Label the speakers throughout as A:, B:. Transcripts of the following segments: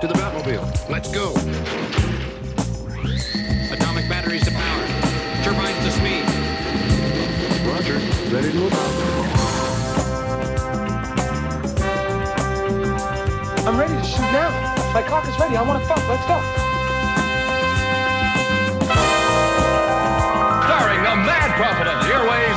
A: to the Batmobile. Let's go.
B: Atomic batteries to power. Turbines to speed.
A: Roger. Ready to move?
C: I'm ready to shoot now. My cock is ready. I want to fuck. Let's go.
D: Starring the mad prophet of the airways,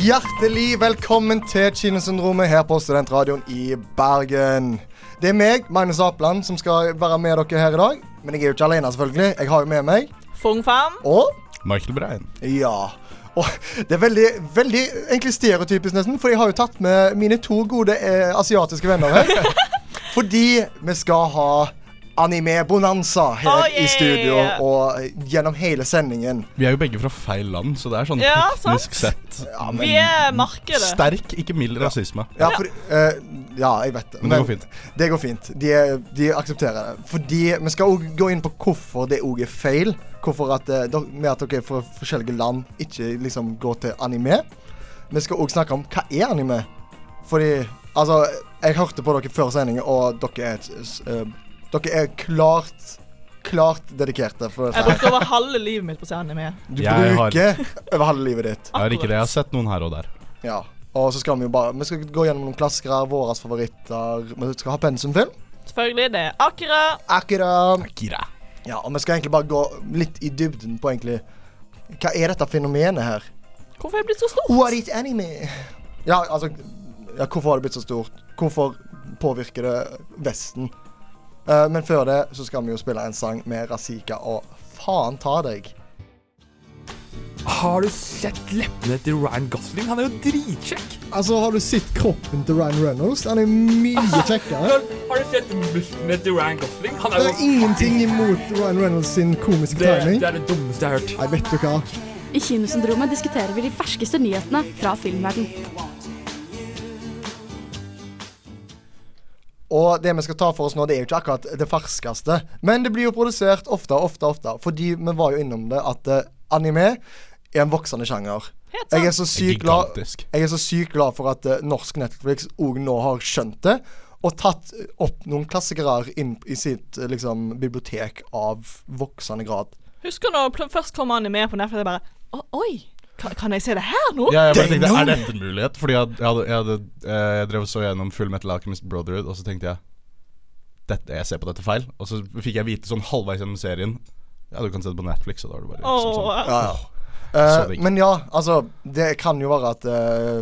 E: Hjertelig velkommen til Kinosyndromet her på Studentradioen i Bergen. Det er meg, Magnus Apland, som skal være med dere her i dag. Men jeg er jo ikke alene, selvfølgelig. Jeg har jo med meg
F: Fung Fan.
E: Og
G: Michael Brein.
E: Ja. Og det er veldig, veldig egentlig stereotypisk, nesten, for jeg har jo tatt med mine to gode eh, asiatiske venner her. Fordi vi skal ha anime-bonanza her
F: Oh,
E: i
F: yeah.
E: studio og gjennom hele sendingen.
G: Vi er jo begge fra feil land, så det er sånn
F: Ja,
G: teknisk sett
E: Ja,
F: Vi er markedet.
G: sterk, ikke mild rasisme.
E: Ja, for, eh, ja, jeg vet det.
G: Men det går fint.
E: Det går fint. De, de aksepterer det. Fordi Vi skal også gå inn på hvorfor det òg er feil. Hvorfor at, eh, dere- Med at dere fra forskjellige land ikke liksom går til anime. Vi skal òg snakke om hva er anime. Fordi Altså, jeg hørte på dere før sending, og dere er, et s- eh, dere er klart Klart dedikerte. For
F: Jeg
E: dette. her.
F: brukte over halve livet mitt på å se anime.
E: Du
G: Jeg har-
E: bruker over halve livet ditt.
G: Jeg har ikke det. Jeg har sett noen her og der.
E: Ja. Og så skal vi jo bare Vi skal gå gjennom noen klassikere, våre favoritter. Vi skal ha pensumfilm.
F: Selvfølgelig. Det er Akira.
E: Akkurat.
G: Gira.
E: Ja, og vi skal egentlig bare gå litt i dybden på egentlig Hva er dette fenomenet her?
F: Hvorfor er jeg blitt så stor?
E: What is anime? Ja, altså ja, Hvorfor har det blitt så stort? Hvorfor påvirker det Vesten? Eh, men før det så skal vi jo spille en sang med Razika og Faen ta deg.
H: Har du sett leppene til Ryan Gosling? Han er jo dritkjekk!
I: Altså, Har du sett kroppen til Ryan Reynolds? Han er mye kjekkere.
H: Har, har du sett musklene til Ryan Gosling? Han
I: Det
H: er jo
I: er ingenting imot Ryan Reynolds sin komiske
H: det,
I: timing.
H: det er det dummeste jeg har hørt.
I: Nei, vet du hva?
J: I Kinosyndromet diskuterer vi de ferskeste nyhetene fra filmverden.
E: Og det vi skal ta for oss nå, det er jo ikke akkurat det ferskeste. Men det blir jo produsert ofte og ofte, ofte. Fordi vi var jo innom det at eh, anime er en voksende sjanger.
F: Helt
E: Jeg er
F: sant.
E: så sykt glad
G: Gigantisk.
E: Jeg er så sykt glad for at eh, norsk Netflix òg nå har skjønt det, og tatt eh, opp noen klassikere inn i sitt eh, liksom, bibliotek av voksende grad.
F: Husker når pl- først kom anime på Netflix, jeg bare Å, Oi, kan, kan jeg se det her nå?
G: Ja, jeg bare tenkte,
E: Damn.
G: Er dette en mulighet? Fordi jeg, jeg, hadde, jeg, hadde, eh, jeg drev og så gjennom Full Metal Alchemist Brotherhood, og så tenkte jeg dette, Jeg ser på dette feil. Og så fikk jeg vite sånn halvveis gjennom serien Ja, du kan se det på Netflix, og da er det bare
F: Åh,
G: liksom sånn.
E: Ja, ja.
G: Så
E: Eh,
G: digg.
E: men ja, altså Det kan jo være at eh,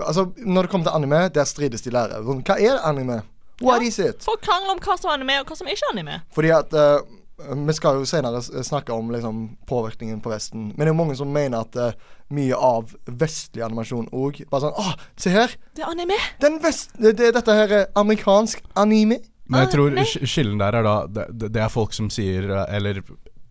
E: Altså, når det kommer til anime, der strides de lærere. Sånn, Hva er anime? What is it?
F: Folk krangler om hva som er anime, og hva som ikke er anime.
E: Fordi at eh, Vi skal jo senere s- snakke om liksom, påvirkningen på Vesten. Men det er jo mange som mener at eh, mye av vestlig animasjon òg Bare sånn Å, se her!
F: Det er anime.
E: Den vest... Det, det, dette her er amerikansk anime.
G: Men jeg
F: Ah,
G: tror
F: nei.
G: sk- skillen der er da det, det- det er folk som sier eh, Eller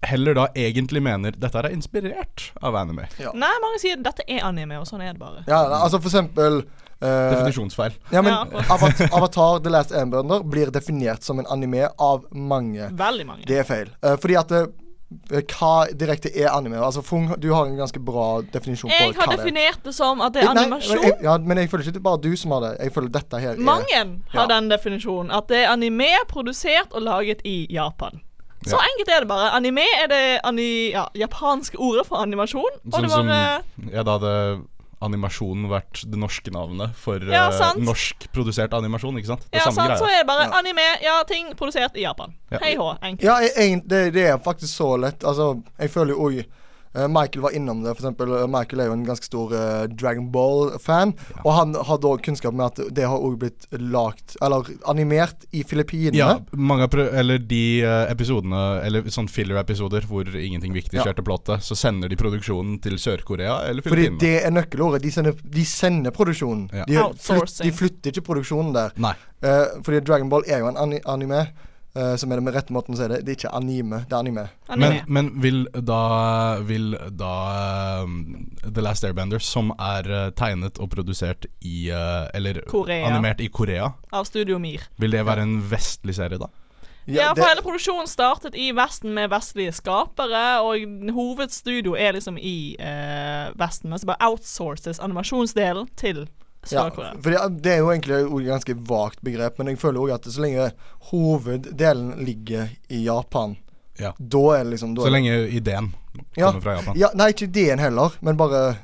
G: heller da egentlig mener Dette her er inspirert av anime.
F: Nei, mange sier dette er anime, og sånn er det bare.
E: Ja, altså for eksempel eh,
G: Definisjonsfeil.
E: ja, men
F: Ja, akkurat.
E: Avat- Avatar The Last Airbender blir definert som en anime av mange.
F: Veldig mange.
E: Det er feil. Eh, fordi at eh, hva direkte er anime? Altså, Fung, du har en ganske bra definisjon på
F: Jeg har
E: hva det er.
F: definert det som at det er
E: Nei,
F: animasjon.
E: jeg, ja, men jeg føler ikke det er bare du som har det. Jeg føler dette her er
F: Mange har
E: Ja.
F: den definisjonen. At det er anime produsert og laget i Japan. Så
G: Ja.
F: enkelt er det bare. Anime er det ani, ja, japanske ordet for animasjon. Og
G: Sånn
F: det var
G: som
F: eh,
G: Ja, da hadde animasjonen vært det norske navnet for
F: Ja,
G: eh,
F: sant.
G: norskprodusert animasjon, ikke sant? Det er
F: ja,
G: samme
F: sant, så
G: greia.
F: er det bare
E: Ja.
F: anime, ja, ting produsert i Japan.
G: Ja.
F: Hei hå, enkelt.
E: Ja, jeg, jeg, det, det er faktisk så lett. Altså, jeg føler jo òg Michael var innom det. For eksempel, eh, Michael er jo en ganske stor eh, Dragon Ball-fan. Og han har da kunnskap med at det har òg blitt lagt Eller animert i Filippinene.
G: Ja, mange av pro eller de eh, episodene, eller sånn filler-episoder hvor ingenting viktig
E: Ja.
G: skjer til plottet, så sender de produksjonen til Sør-Korea eller
E: Fordi
G: Filippinene.
E: det er nøkkelordet. De sender, de sender produksjonen.
G: Ja.
E: De, flyt,
F: Outsourcing.
E: de flytter ikke produksjonen der.
G: Nei.
E: Eh, fordi Dragon Ball er jo en ani anime. eh, som er det med rette måten å si det. Det er ikke anime, det er anime.
F: Anime.
G: Men, men vil da, vil da um, The Last Airbender, som er eh, tegnet og produsert i eh, Eller
F: Korea.
G: animert i Korea,
F: av Studio Mir.
G: vil det være en vestlig serie, da?
F: Ja, for
E: det-
F: hele produksjonen startet i Vesten med vestlige skapere, og hovedstudio er liksom i eh, Vesten, men så bare outsources animasjonsdelen til
E: Ja,
F: Sør-Korea.
E: for det, det er jo egentlig også et ganske vagt begrep, men jeg føler òg at så lenge hoveddelen ligger i Japan,
G: Ja.
E: da er det liksom da
G: Så
E: er det-
G: lenge ideen
E: ja,
G: kommer fra Japan.
E: Ja, nei, ikke ideen heller, men bare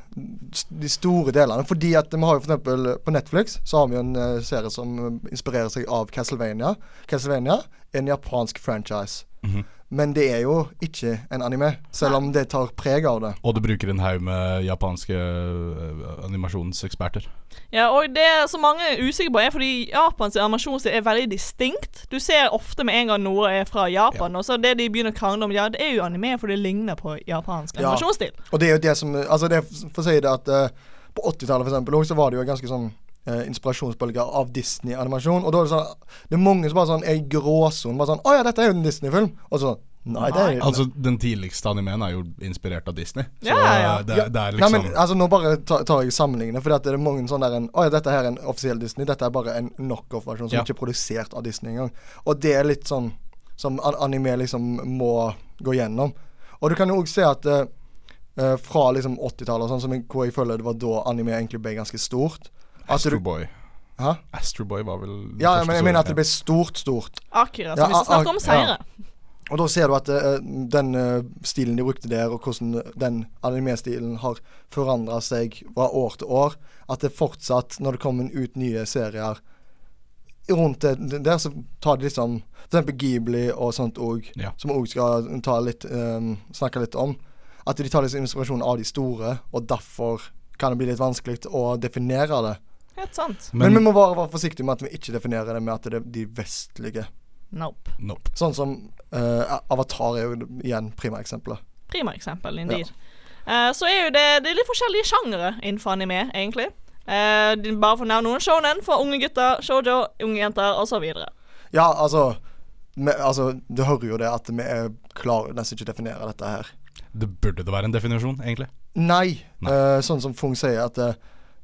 E: s- de store delene. Fordi at vi har jo for eksempel på Netflix så har vi jo en eh, serie som eh, inspirerer seg av Castlevania. Castlevania er en japansk franchise.
G: Mhm.
E: Men det er jo ikke en anime, selv om det tar preg av det.
G: Og du bruker en haug med japanske øh, animasjonseksperter.
F: Ja, og det er så mange er usikre på, er fordi Japans animasjonsstil er veldig distinkt. Du ser ofte med en gang noe er fra Japan, og så det de begynner å krangle om, ja, det er jo anime, for det ligner på japansk
E: Ja.
F: animasjonsstil.
E: Og det er jo det som Altså, det er f- for å si det at eh, på 80-tallet for eksempel, også, så var det jo en ganske sånn eh, inspirasjonsbølge av Disney-animasjon. Og da er det sånn Det er mange som bare sånn er i gråsonen. Bare sånn 'Å ja, dette er jo en Disney-film.' Og så sånn Nei, det er jo
G: Altså, den tidligste animeen er jo inspirert av Disney. Så
F: Ja, ja, ja.
G: øh, Det,
E: Ja,
G: det er liksom
E: Nei, men altså Nå bare tar, tar jeg sammenlignende, Fordi at det er mange sånne der en, Å ja, dette her er en offisiell Disney. Dette er bare en knockoff-versjon som
G: Ja.
E: ikke er produsert av Disney engang. Og det er litt sånn som an- anime liksom må gå gjennom. Og du kan jo òg se at eh, eh, fra liksom 80-tallet og sånn, som jeg, hvor jeg føler det var da anime egentlig ble ganske stort At du,
G: Astroboy.
E: Hæ?
G: Astroboy var vel den
E: Ja,
G: første
E: ja, men jeg
G: store,
E: mener at
G: ja.
E: det ble stort, stort.
F: Akira,
E: Ja,
F: som vi skal snakke om
E: ak- ja.
F: senere.
E: Og da ser du at eh, den eh, stilen de brukte der, og hvordan den anime-stilen har forandra seg fra år til år. At det fortsatt, når det kommer ut nye serier rundt det der, så tar de liksom For eksempel Ghibli og sånt òg,
G: Ja.
E: som òg skal ta litt, eh, snakke litt om. At de tar liksom inspirasjon av de store, og derfor kan det bli litt vanskelig å definere det.
F: Helt sant.
E: Men,
G: Men-
E: vi må bare være forsiktige med at vi ikke definerer det med at det er de vestlige.
F: Nope.
G: Nope.
E: Sånn som eh, Avatar er jo igjen primæreksempelet.
F: Prima eksempel, indeed. Eh, så er jo det, det er litt forskjellige sjangere innenfor anime, egentlig. Eh, de- bare for å nevne noen shonen for unge gutter, shoujo, unge jenter osv.
E: Ja, altså, vi, altså Du hører jo det at vi er klarer nesten ikke å definere dette her.
G: Det burde det være en definisjon, egentlig.
E: Nei. eh, sånn som Fung sier, at eh,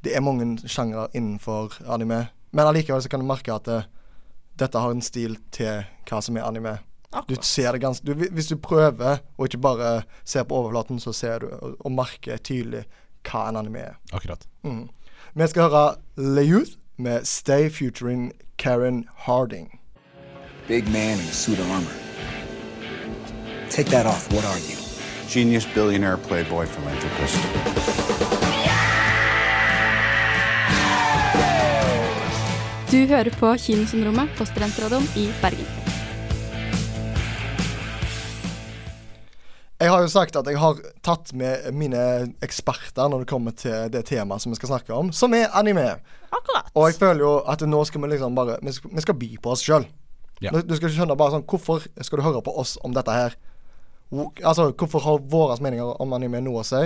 E: det er mange sjangre innenfor anime. Men allikevel så kan du merke at eh, dette har en stil til hva som er anime. Du ser det ganske du, Hvis du prøver, og ikke bare ser på overflaten, så ser du og, og merker tydelig hva en anime er.
G: Akkurat.
E: Mm. Vi skal høre Le Youth med Stay featuring Karen Harding.
B: Big man in a suit of armor. Take that off. What are you?
A: Genius, billionaire, playboy, philanthropist.
J: Du hører på Kinosyndromet på Studentradioen i Bergen.
E: Jeg har jo sagt at jeg har tatt med mine eksperter når det kommer til det temaet som vi skal snakke om, som er anime.
F: Akkurat.
E: Og jeg føler jo at nå skal vi liksom bare Vi skal, vi skal by på oss sjøl.
G: Ja.
E: Du, du skal skjønne bare sånn Hvorfor skal du høre på oss om dette her? Hvor- Altså, hvorfor har våre meninger om anime noe å si?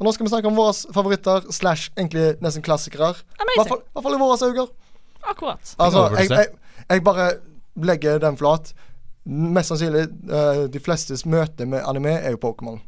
E: Og nå skal vi snakke om våre favoritter slash egentlig nesten klassikere. I
F: Amazing.
E: hvert fall- i hvert fall i våre øyne.
F: Akkurat.
E: Altså,
G: overraskelse.
E: jeg, jeg, jeg bare legger den flat. Mest sannsynlig eh, de flestes møte med anime er jo Pokémon.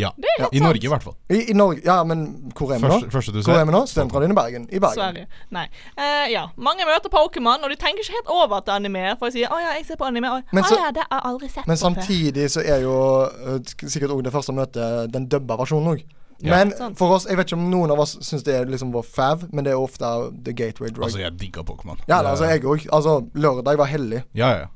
G: Ja.
F: er helt
G: I
F: sant.
G: Norge, i hvert fall.
E: I, I Norge Ja, men hvor er vi nå?
G: Første- første du
E: Hvor
G: ser.
E: er vi nå? Studentradioen i Bergen. I Bergen.
F: Sverige. Nei. Eh, ja. Mange møter Pokémon, og de tenker ikke helt over at det er anime. For de sier 'Å ja, jeg ser på anime'. Og,
E: Men
F: Å
E: så-
F: ja, det har jeg aldri sett
E: Men
F: på før».
E: samtidig så er jo eh, sk- sikkert òg det første møtet den dubba versjonen òg.
G: Ja.
E: Men
F: Sant.
E: for oss, jeg vet ikke om noen av oss syns det er liksom vår fav, men det er ofte the gateway drug.
G: Altså, jeg digga Pokémon.
E: ja, da,
G: Det-
E: altså jeg òg. Altså, lørdag var hellig.
G: Ja, ja, ja.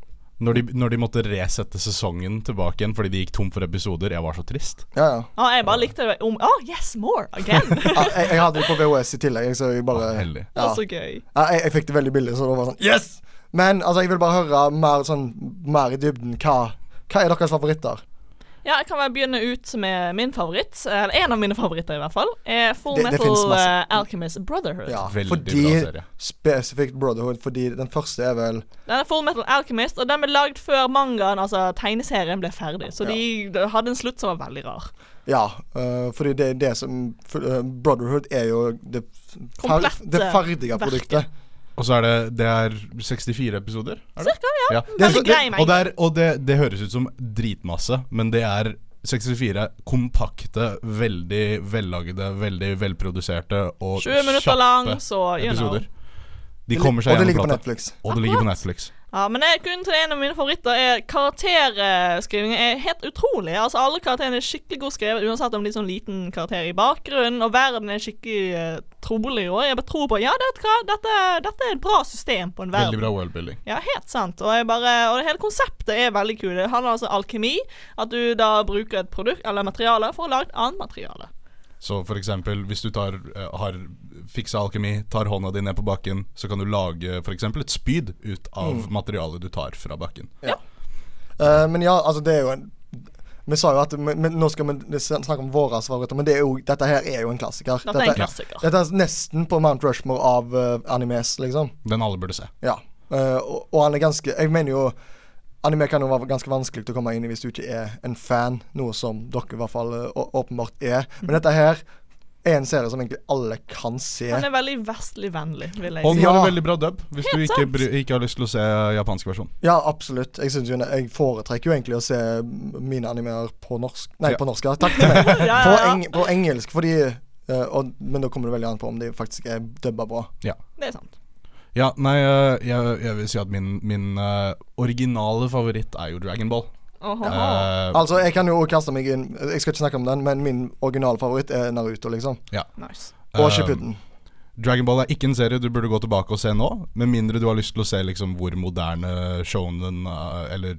G: Når de, når de måtte resette sesongen tilbake igjen fordi de gikk tom for episoder, jeg var så trist.
E: Ja, ja.
F: Å, jeg bare likte det om Å, yes, more! Again!
E: Ja, Jeg, jeg hadde det på VHS i tillegg, så jeg bare
G: Ah, heldig.
E: Ja.
F: Så gøy.
E: Ja, jeg, jeg fikk det veldig billig, så det var sånn Yes! Men altså, jeg vil bare høre mer, sånn, mer i dybden. Hva, hva er deres favoritter?
F: Ja, jeg kan vel begynne ut med min favoritt. Eller en av mine favoritter, i hvert fall. Er Full
E: Det- det
F: Metal
E: finnes masse-
F: eh, Alchemist Brotherhood.
E: Ja,
G: Veldig
E: fordi
G: bra serie.
E: Spesifikt Brotherhood, fordi den første er vel
F: Den er Full Metal Alchemist, og den ble lagd før mangaen, altså tegneserien, ble ferdig. Så de, de hadde en slutt som var veldig rar.
E: Ja, øh, fordi det er det som for, øh, Brotherhood er jo det, f-
F: Komplette
E: det ferdige
F: verket.
E: produktet.
G: Og så er det Det er 64 episoder? Er det?
F: Cirka, ja.
G: Det
E: er så-
F: Veldig grei
G: Og, det,
F: mengde.
G: er, og det, det høres ut som dritmasse, men det er 64 kompakte, veldig vellagde, veldig velproduserte og
F: 20 minutter
G: kjappe
F: lang, så you know.
G: episoder. De kommer seg
E: og det
G: gjennom
E: ligger på
G: plata.
E: Netflix.
G: Og det ligger på
F: Akkurat.
G: Netflix.
F: Ja, men jeg, grunnen til det er en av mine favoritter er karakterskrivingen er helt utrolig. Altså Alle karakterene er skikkelig godt skrevet, uansett om de er sånn liten karakter i bakgrunnen. Og verden er skikkelig eh, trolig. Og jeg bare tror på Ja, vet du hva, dette, dette er et bra system på en verden.
G: Veldig bra worldbuilding.
F: Ja, helt sant. Og, jeg bare, og det hele konseptet er veldig kult. Det handler altså om alkemi. At du da bruker et produkt eller materiale for å lage et annet materiale.
G: Så for eksempel, hvis du tar, eh, har fiksa alkemi, tar hånda di ned på bakken, så kan du lage for eksempel et spyd ut av
E: Mm.
G: materialet du tar fra bakken.
E: Eh, men ja, altså, det er jo en vi sa jo at men, men, Nå skal vi snakke om våre favoritter, men det er jo, dette her er jo en klassiker.
F: Dette er en klassiker.
E: Dette er nesten på Mount Rushmore av eh, animes, liksom.
G: Den alle burde se.
E: Ja. Eh, og, og han er ganske Jeg mener jo Anime kan jo være ganske vanskelig til å komme inn i hvis du ikke er en fan, noe som dere i hvert fall eh, å- åpenbart er. Men dette her er en serie som egentlig alle kan se.
F: Han er veldig vestlig vennlig, vil jeg
G: Og
F: si.
G: den har
E: Ja.
G: en veldig bra dub, hvis
F: Helt
G: du ikke,
F: sant.
G: bry- ikke har lyst til å se japansk versjon.
E: Ja, absolutt. Jeg, synes jo, jeg foretrekker jo egentlig å se mine animer på norsk Nei,
G: Ja.
E: på norsk, ja. Takk til meg.
F: Ja,
E: På,
F: ja,
E: eng, på engelsk, fordi eh, og, Men da kommer det veldig an på om de faktisk er dubba bra.
F: det er sant.
G: Ja, nei, øh, jeg, jeg vil si at min, min øh, originale favoritt er jo Dragon Ball.
F: Åhå.
G: Eh,
E: Altså, jeg kan jo kaste meg inn Jeg skal ikke snakke om den, men min originalfavoritt er Naruto, liksom.
F: nice.
E: Og
G: eh,
E: Shippuden.
G: Dragon Ball er ikke en serie du burde gå tilbake og se nå, med mindre du har lyst til å se liksom hvor moderne shonen eh, eller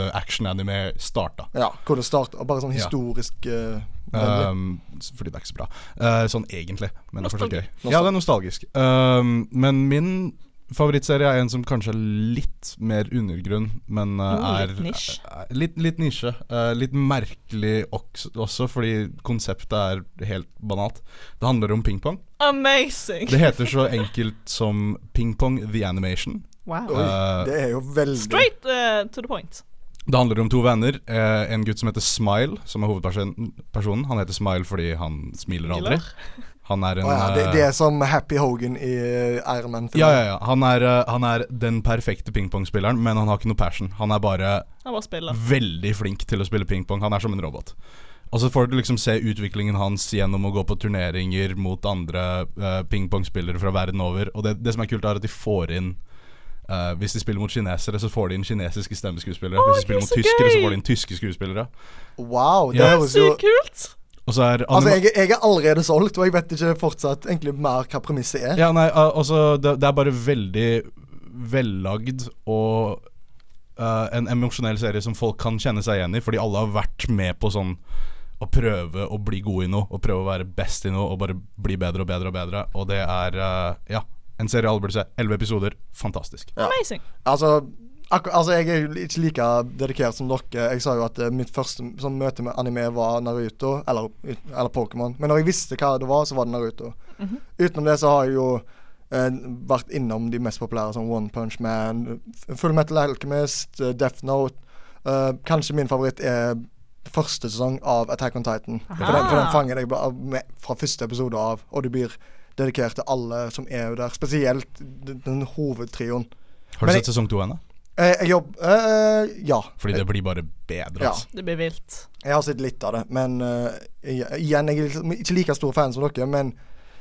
G: gutte-action-anime starta.
E: Ja, hvor det starter. Bare sånn
G: ja.
E: historisk eh, vennlig.
G: Um, s- fordi det er ikke så bra. Eh, sånn egentlig, men det er fortsatt gøy.
E: Nostalgi.
G: Ja, det er nostalgisk. Um, men min favorittserie er en som kanskje er litt mer undergrunn, men eh,
F: Oh,
G: er
F: litt nisje.
G: er- er- litt, litt nisje. Eh, litt merkelig også, også, fordi konseptet er helt banalt. Det handler om pingpong.
F: Amazing.
G: Det heter så enkelt som Pingpong the Animation.
F: Wow.
E: Oi,
G: eh,
E: det er jo veldig
F: Straight eh, to the point.
G: Det handler om to venner. Eh, en gutt som heter Smile, som er hovedpersonen. personen. Han heter Smile fordi han smiler aldri.
F: Smiler.
G: Han er en
E: Å ja, det,
G: eh,
E: det er som Happy Hogan i eh, Iron Man-filmen.
G: Ja, ja, ja. Han er, eh, han er den perfekte pingpongspilleren, men han har ikke noe passion. Han er bare
F: Han bare
G: Mm.
F: spiller.
G: veldig flink til å spille pingpong. Han er som en robot. Og så får du liksom se utviklingen hans gjennom å gå på turneringer mot andre eh, pingpongspillere fra verden over. Og det, det som er kult, er at de får inn eh, Hvis de spiller mot kinesere, så får de inn kinesiske stemmeskuespillere. Hvis de
F: det er
G: spiller mot
F: så
G: tyskere, så
F: gøy!
G: får de inn tyske skuespillere.
E: Wow, det
G: Ja.
E: høres jo
F: Sykt kult.
G: Og så er
E: Altså,
G: anima-
E: jeg, jeg er allerede solgt, og jeg vet ikke fortsatt egentlig mer hva premisset er.
G: Ja, nei, al- altså det, det er bare veldig vellagd og eh, en emosjonell serie som folk kan kjenne seg igjen i, fordi alle har vært med på sånn å prøve å bli god i noe, og prøve å være best i noe, og bare bli bedre og bedre og bedre. Og det er eh, ja, en serie alle burde se. Elleve episoder. Fantastisk.
F: Amazing.
E: Altså, akkur altså, jeg er jo ikke like dedikert som dere. Jeg sa jo at eh, mitt første sånn møte med anime var Naruto, eller, ut- eller Pokémon. Men når jeg visste hva det var, så var det Naruto. Utenom det så har jeg jo eh, vært innom de mest populære, som One Punch Man, F- Full Metal Alchemist, eh, Death Note. Eh, kanskje min favoritt er første sesong av Attack on Titan. For den, for den fanger deg bare med, fra første episode av, og du blir dedikert til alle som er jo der. Spesielt den, den hovedtrioen.
G: Har
E: Men
G: du
E: jeg-
G: sett sesong to ennå?
E: Eh, Jeg jobber eh, Ja.
G: Fordi det blir bare bedre.
E: Ja.
G: Altså.
F: Det blir vilt.
E: Jeg har sett litt av det. Men eh, jeg- igjen, jeg er liksom ikke like stor fan som dere. Men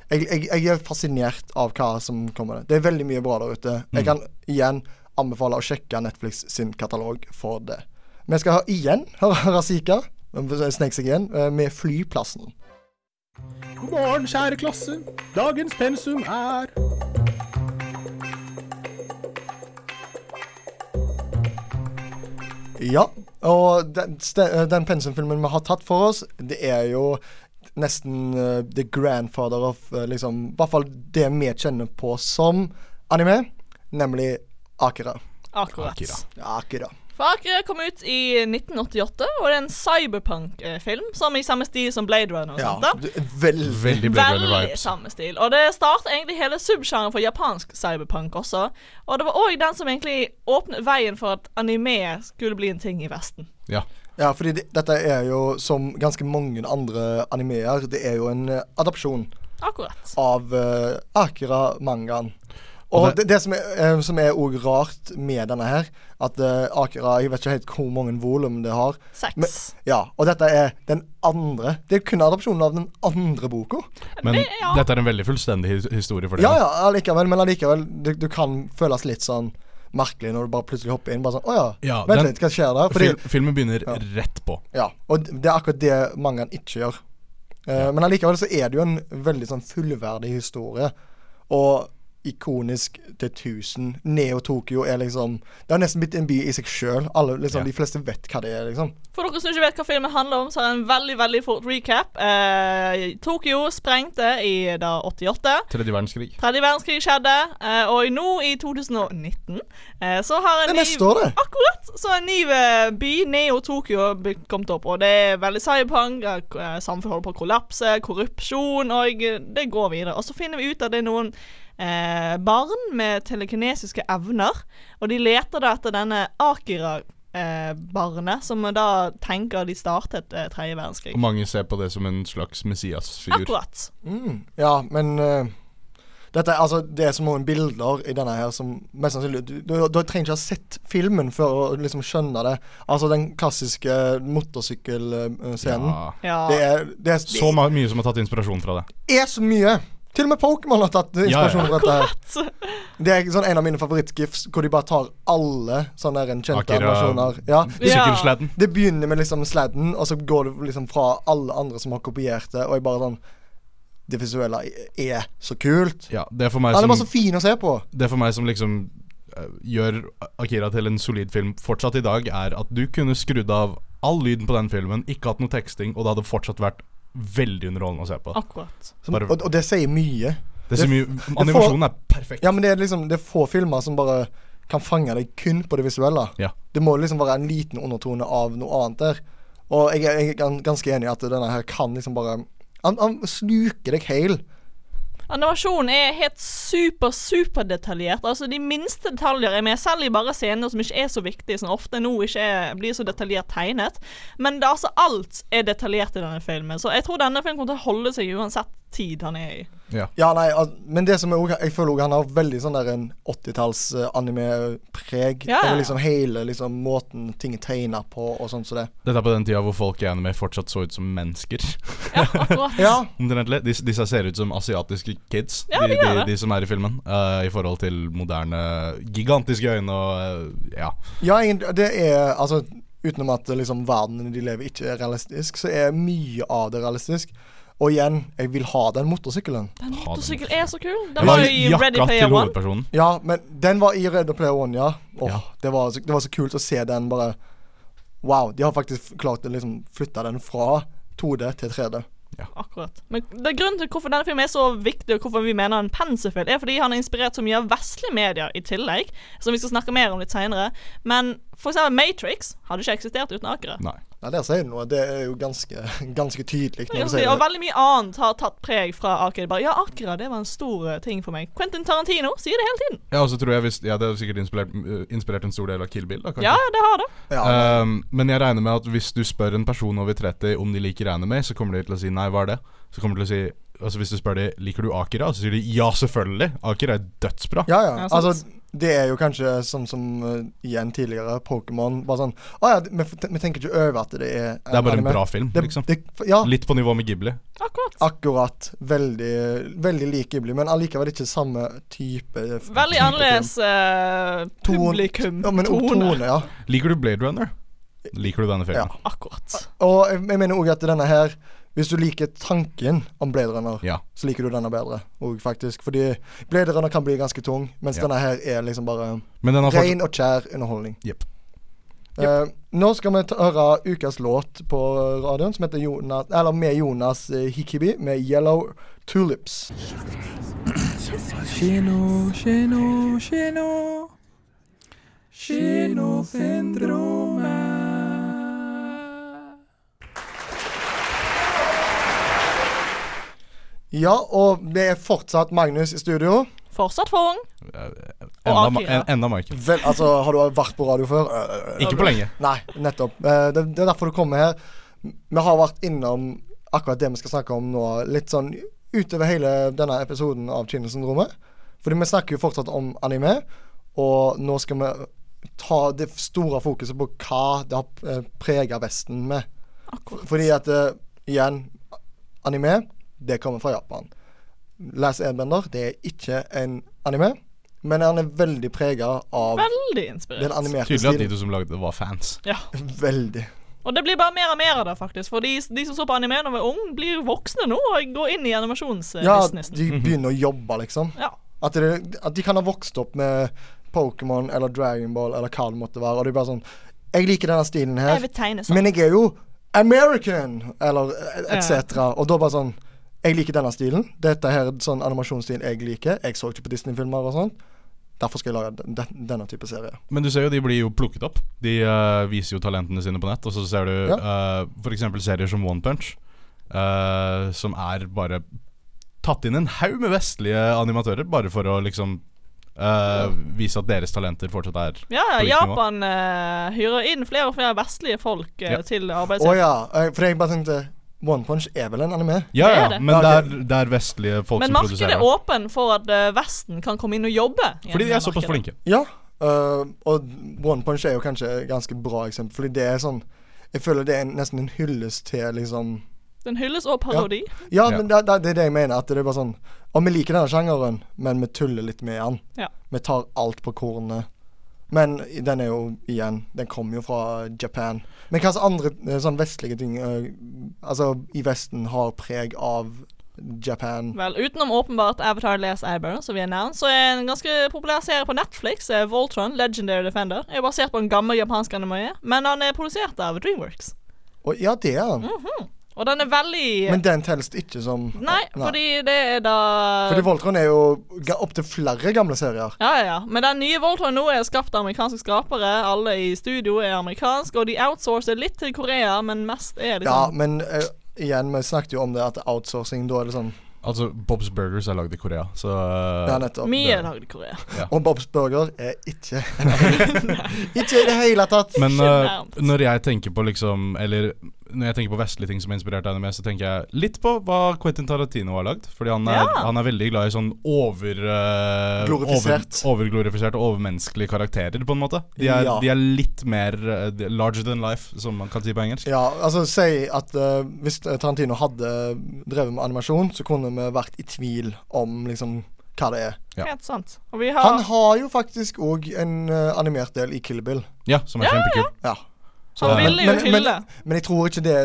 E: jeg, jeg, jeg er fascinert av hva som kommer. Det er veldig mye bra der ute. Jeg kan igjen anbefale å sjekke Netflix sin katalog for det. Vi skal ha, igjen høre Razika. Snek seg igjen eh, med Flyplassen.
H: God morgen, kjære klasse. Dagens pensum er
E: Ja, og den, ste- eh, den pensumfilmen vi har tatt for oss, det er jo nesten eh, the grandfather of eh, liksom, I hvert fall det vi kjenner på som anime, nemlig Akira.
F: Akkurat.
G: Akira.
E: Akira.
F: For Akira kom ut i 1988, og det er en cyberpunk-film som er i samme stil som Blade Runner. og
E: Ja,
F: sånt Sånn da.
E: du- veldig
G: Veldig Blade Runner
F: Veldig
G: vibes.
F: samme stil. Og det starter egentlig hele subsjangeren for japansk cyberpunk også. Og det var òg den som egentlig åpnet veien for at anime skulle bli en ting i Vesten.
G: Ja.
E: Ja, fordi det, dette er jo, som ganske mange andre animeer, det er jo en eh, adopsjon
F: Akkurat.
E: av eh, Akira-mangaen. Og,
G: Og
E: det, det som er, eh, som er også rart med denne her, at eh, Akira Jeg vet ikke helt hvor mange volum det har.
F: Seks.
E: Men, ja, og dette er den andre. Det er kun adopsjonen av den andre boka.
G: Men
F: Det- ja.
G: dette er en veldig fullstendig his- historie for dere.
E: Ja, ja, allikevel, men allikevel. Det, du kan føles litt sånn merkelig når du bare plutselig hopper inn. Bare sånn, å ja,
G: Ja,
E: vent
G: den-
E: litt, hva skjer der? Fordi,
G: Fil- filmen begynner
E: Ja.
G: rett på.
E: ja, og det er akkurat det mangaen ikke gjør. Eh, Men allikevel så er det jo en veldig sånn fullverdig historie. Og ikonisk til 1000. Neo-Tokyo er liksom Det har nesten blitt en by i seg sjøl. Liksom,
G: Ja.
E: De fleste vet hva det er, liksom.
F: For dere som ikke vet hva filmen handler om, så har jeg en veldig veldig fort recap. Eh, Tokyo sprengte i da 88.
G: Tredje verdenskrig.
F: Tredje verdenskrig skjedde, eh, og nå i 2019 eh, så har
E: Det
F: en
E: er neste år, det.
F: Akkurat! Så en ny eh, by, Neo-Tokyo, blitt kommet opp. Og det er veldig cyberpunk, eh, k- eh, samfunnet holder på å kollapse, korrupsjon, og eh, det går videre. Og så finner vi ut at det er noen eh, barn med telekinesiske evner, og de leter da etter denne Akira. Eh, barnet, som da tenker de startet eh, tredje verdenskrig.
G: Og mange ser på det som en slags Messias-figur.
F: Akkurat.
E: Mm, Ja, men eh, dette, er- altså, Det er så mange bilder i denne her som mest sannsynlig Du, du, du trenger ikke ha sett filmen for å liksom skjønne det. Altså den klassiske motorsykkelscenen.
G: Ja.
F: Ja.
E: Det, er, det, er,
G: Så ma- mye som har tatt inspirasjon fra det.
E: det er så mye! Til og med Pokémon har tatt
G: ja.
E: inspirasjon fra dette. her Det er sånn en av mine favorittgifs hvor de bare tar alle sånne der kjente
G: Akira-
E: animasjoner. Ja.
F: Ja.
G: Sykkelsladden.
E: Det begynner med liksom sladden, og så går det liksom fra alle andre som har kopiert det, og jeg bare sånn Det visuelle er så kult.
G: Ja, altså, det er for meg
E: Han er
G: som
E: bare så fin å se på.
G: det for meg som liksom eh, gjør Akira til en solid film fortsatt i dag, er at du kunne skrudd av all lyden på den filmen, ikke hatt noe teksting, og det hadde fortsatt vært veldig underholdende å se på.
F: Akkurat.
E: Som,
G: Bare-
E: og, og det sier mye.
G: Det er så mye, animasjonen er perfekt.
E: Ja, men det er liksom Det er få filmer som bare kan fange deg kun på det visuelle.
G: Ja.
E: Det må liksom være en liten undertone av noe annet der. Og jeg, er- jeg er gan- ganske enig i at denne her kan liksom bare Han, han sluker deg heil.
F: Animasjonen er helt super, super detaljert. Altså, de minste detaljer er med, selv i bare scener som ikke er så viktige, som ofte nå ikke er, blir så detaljert tegnet. Men det, er altså, alt er detaljert i denne filmen, så jeg tror denne filmen kommer til å holde seg uansett tid han er i.
G: Ja.
E: Ja, nei, al- men det som er også, jeg føler også han har veldig sånn der en 80-talls-anime-preg.
F: Ja, ja.
E: Over liksom hele liksom måten ting er tegna på og sånn som det.
G: Dette er på den tida hvor folk i anime fortsatt så ut som mennesker.
F: Ja, akkurat.
E: Ja.
G: Omtrentlig. Disse, disse ser ut som asiatiske kids,
F: Ja,
G: de,
F: de
G: de,
F: gjør det.
G: de som er i filmen. eh, I forhold til moderne, gigantiske øyne og eh, Ja.
E: Ja, egentlig, det er altså Utenom at liksom, verden de lever i ikke er realistisk, så er mye av det realistisk. Og igjen, jeg vil ha den motorsykkelen.
F: Den
G: den
F: motorsykkel er så kul.
G: Det
F: Den var
G: var
F: jo i Ready
G: jakka til
F: Player One.
G: hovedpersonen.
E: Ja, men den var i Red Player One, ja. Åh,
G: Ja.
E: Det, var så, det var så kult å se den bare Wow, de har faktisk klart å liksom flytte den fra 2D til 3D.
F: Akkurat. Men det er grunnen til hvorfor denne filmen er så viktig, og hvorfor vi mener den penselfil, er fordi han er inspirert så mye av vestlige medier i tillegg, som vi skal snakke mer om litt seinere. Men for eksempel Matrix hadde ikke eksistert uten Akere.
G: Nei.
E: Nei, der sier du noe. Det er jo ganske, ganske tydelig.
F: Ja,
E: Når du
F: riktig,
E: sier
F: og
E: det.
F: veldig mye annet har tatt preg fra Akira. Bare, ja, Akira det var en stor eh, ting for meg. Quentin Tarantino sier det hele tiden.
G: Ja, og så tror jeg hvis, ja, Det har sikkert inspirert, eh, inspirert en stor del av Kill Bill. Da, kanskje.
F: Ja, det har det.
E: Ja,
G: Ehm, men jeg regner med at hvis du spør en person over 30 om de liker anime, så kommer de til å si nei, hva er det? Så kommer de til å si Altså Hvis du spør de liker du Akira, så sier de ja, selvfølgelig. Akira er dødsbra.
E: Ja, ja.
F: Ja, sant.
E: altså, det er jo kanskje sånn som eh, igjen tidligere, Pokémon. Bare sånn Å ja, vi, f- vi tenker ikke over at det er en
G: Det er bare en
E: anime.
G: bra film,
E: Det-
G: liksom.
E: Det, ja,
G: Litt på nivå med Ghibli.
E: Ah,
F: Akkurat.
E: akkurat. Veldig, veldig lik Ghibli, men allikevel ikke samme type f-
F: Veldig
E: type
F: annerledes
E: film.
F: eh,
E: Ton-
F: publikum.
E: Ja, men også
F: tone.
E: tone, ja.
G: Liker du Blade Runner? Liker du denne filmen?
F: Akkurat.
E: Og jeg, jeg mener òg at denne her Hvis du liker tanken om Blade Runner,
G: Ja.
E: så liker du denne bedre òg, faktisk. Fordi Blade Runner kan bli ganske tung, mens
G: Ja.
E: denne her er liksom bare
G: Men den har fortsatt
E: ren og kjær underholdning.
G: Jep.
E: Eh, nå skal vi ta, høre ukas låt på radioen som heter Jonas, eller med Jonas eh, Hikibi med 'Yellow Tulips'.
H: Kino, kino, kino. Kinosyndromet.
E: Ja, og det er fortsatt Magnus i studio.
F: Fortsatt for ung.
G: enda,
F: Og
G: ma-
F: Akira.
G: en, enda Michael.
E: Vel, altså, har du vært på radio før? Eh,
G: Ikke på lenge.
E: Nei, nettopp. Eh, det, det er derfor du kommer her. Vi har vært innom akkurat det vi skal snakke om nå, litt sånn utover hele denne episoden av Kinosyndromet. Fordi vi snakker jo fortsatt om anime, og nå skal vi ta det store fokuset på hva det har eh, preget Vesten med.
F: Akkurat.
E: Fordi at eh, igjen, anime, det kommer fra Japan. Last Airbender, det er ikke en anime. men han er veldig prega av
F: Veldig
E: den
F: inspirert.
E: animerte
G: Tydelig at de
E: stilen.
G: to som lagde det, var fans.
F: Ja.
E: Veldig.
F: Og det blir bare mer og mer av det, faktisk. For de, de som så på anime da de var unge, blir jo voksne nå og går inn i
E: Ja,
F: animasjonsbusinessen.
E: de begynner å jobbe, liksom.
F: Ja.
E: At, det, at de kan ha vokst opp med Pokémon eller Dragonball eller hva det måtte være. Og det er bare sånn Jeg liker denne stilen her,
F: Jeg vil tegne sånn.
E: men jeg er jo American! Eller etc.
F: Ja.
E: Og da bare sånn Jeg liker denne stilen. Dette her er sånn animasjonsstil jeg liker. Jeg så ikke på Disney-filmer og sånn. Derfor skal jeg lage den, den, denne type serie.
G: Men du ser jo de blir jo plukket opp. De eh, viser jo talentene sine på nett. Og så ser du
E: Ja.
G: eh, for f.eks. serier som One Punch, eh, som er bare tatt inn en haug med vestlige animatører, bare for å liksom eh, vise at deres talenter fortsatt er
F: Ja,
G: på likt nivå.
F: Japan eh, hyrer inn flere og flere vestlige folk eh,
G: Ja.
F: til
E: Å
F: arbeidet
E: ja. eh, For jeg bare tenkte One Punch er vel en anime?
G: Ja,
F: Det er
G: ja,
F: det.
G: men det
E: Ja,
G: er, det er vestlige folk
F: Men
G: som
F: markedet
G: produserer.
F: er åpen for at eh, Vesten kan komme inn og jobbe. i
G: Fordi de er
F: det
G: såpass
F: markedet.
G: flinke.
E: Ja. eh, og One Punch er jo kanskje et ganske bra eksempel, fordi det er sånn Jeg føler det er en, nesten en hyllest til liksom
F: Den hylles og parodi.
E: Ja,
G: Ja.
E: men det, det, det er det jeg mener. At det er bare sånn Og vi liker denne sjangeren, men vi tuller litt med den.
F: Ja.
E: Vi tar alt på kornet. Men den er jo igjen Den kommer jo fra Japan. Men hva slags andre eh, sånn vestlige ting eh, Altså i Vesten har preg av Japan?
F: Vel, Utenom åpenbart Avatar Last Eyebrow, som vi har nevnt, så er en ganske populær serie på Netflix, eh, Voltron, Legendary Defender, er basert på en gammel japansk anime, men han er produsert av Dreamworks.
E: Og ja, det er
F: Mm.
E: den.
F: Og den er veldig
E: Men den telles ikke som
F: Nei, fordi det er da
E: Fordi Voltron er jo ga- opptil flere gamle serier.
F: Ja, ja, ja. Men den nye Voltron nå er skapt av amerikanske skapere. Alle i studio er amerikansk, og de outsourcer litt til Korea, men mest
E: Ja,
F: er liksom
E: men eh, igjen, vi snakket jo om det at outsourcing, da er det sånn
G: Altså, Bob's Burgers er lagd i Korea, så eh,
E: Ja, nettopp.
F: Mye er lagd i Korea.
E: Og Bobs Burger er ikke en Ikke i det hele tatt.
G: Men
F: Ikke
G: eh,
F: nærmt.
G: når jeg tenker på liksom Eller når jeg tenker på vestlige ting som er inspirert av anime, så tenker jeg litt på hva Quentin Tarantino har lagd. Fordi han er,
F: Ja.
G: han er veldig glad i sånn over, eh,
E: Glorifisert.
G: over Overglorifiserte og overmenneskelige karakterer, på en måte. De er,
E: Ja.
G: de er litt mer eh, de- larger than life, som man kan si på engelsk.
E: ja, altså Si at eh, hvis Tarantino hadde drevet med animasjon, så kunne vi vært i tvil om liksom hva det er.
G: Ja.
F: Helt sant. Og vi har
E: Han har jo faktisk òg en eh, animert del i Kill Bill.
G: Ja, som er kjempekult.
E: Ja.
F: Han ville jo
E: Men- men-
F: hylle.
E: Men jeg tror ikke det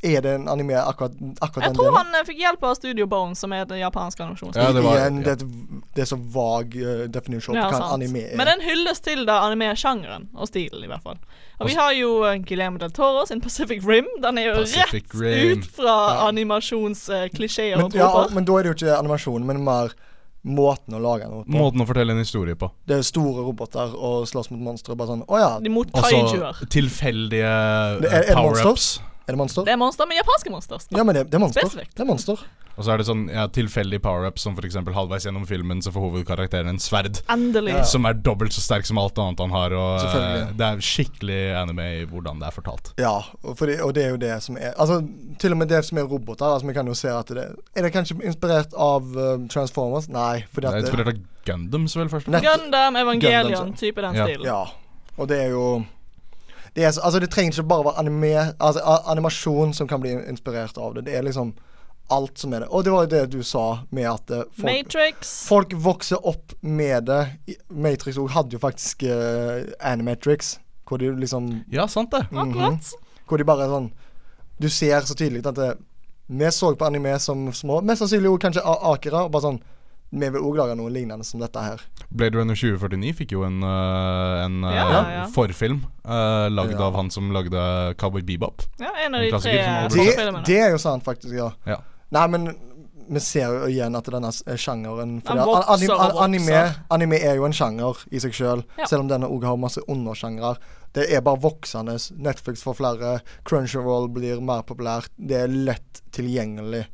E: Er det en anime akkurat, akkurat
F: Jeg
E: den
F: tror
E: delen?
F: han eh, fikk hjelp av Studio Bone, som er et japansk animasjonsstudio.
G: Ja, det var-
E: Igjen,
G: ja.
E: det, er et- det er så vag eh, definisjon på
F: Ja,
E: hva en
F: sant.
E: anime er.
F: Men den hylles til da anime-sjangeren, og stilen i hvert fall. Og vi har jo eh, Guillermo del Toro sin Pacific Rim. Den er jo
G: Pacific
F: rett
G: Rim.
F: ut fra animasjonsklisjeer
E: men,
F: og
E: ja,
F: troper.
E: men da er det jo ikke animasjon, men mer måten å lage noe på.
G: Måten å fortelle en historie på.
E: Det er store roboter og slåss mot monstre. Bare sånn Å ja,
F: De mot
G: Og så
F: kaijuer.
G: tilfeldige
E: Det er- er
G: eh,
E: det
G: power-ups.
E: er det monster?
F: Det er monster, men japanske monster.
E: Ja, men det, det er monster.
F: Spesifikt.
E: Det er monster.
G: Og så er det sånn ja, tilfeldig power-ups, som f.eks. halvveis gjennom filmen så får hovedkarakteren en sverd.
F: Endelig.
G: Som er dobbelt så sterk som alt annet han har. Og eh,
E: Selvfølgelig.
G: Det er skikkelig anime i hvordan det er fortalt.
E: Ja, og, fordi, og det er jo det som er Altså, til og med det som er roboter. Altså, Vi kan jo se at det Er det kanskje inspirert av eh, Transformers? Nei, fordi
G: Det er
E: at
G: inspirert av Gundams, vel, først.
E: Nett-
F: Gundam,
E: Gundam,
F: Evangelion,
E: så.
F: type den
G: Ja.
F: stilen.
E: Ja. Og det er jo det er, så- Altså, det trenger ikke bare være anime, altså, a- animasjon som kan bli inspirert av det. Det er liksom alt som er det. Og det var jo det du sa med at eh, folk
F: Matrix.
E: Folk vokser opp med det. I- Matrix også hadde jo faktisk eh, Animatrix, hvor de liksom
G: Ja, sant det.
F: Akkurat.
E: Hvor de bare er sånn Du ser så tydelig at det, vi så på anime som små. Mest sannsynlig også kanskje a- akere. og Bare sånn Vi vil òg lage noe lignende som dette her.
G: Blade Runner 2049 fikk jo en, eh, en eh,
F: Ja, ja.
G: forfilm eh, lagd
E: Ja.
G: av han som lagde Cowboy Bebop.
F: Ja, en av
G: En
F: de
G: klassiker
F: tre
G: som alle
E: Det,
F: filmene.
E: det er jo sant, faktisk. Ja.
G: Ja.
E: Nei, men vi ser jo igjen at denne s- eh, sjangeren fordi
F: Den
E: at an-
F: vokser og
E: an-
F: vokser.
E: anime, anime er jo en sjanger i seg sjøl,
F: Ja.
E: selv om denne òg har masse undersjangre. Det er bare voksende. Netflix får flere. Crunchyroll blir mer populært. Det er lett tilgjengelig.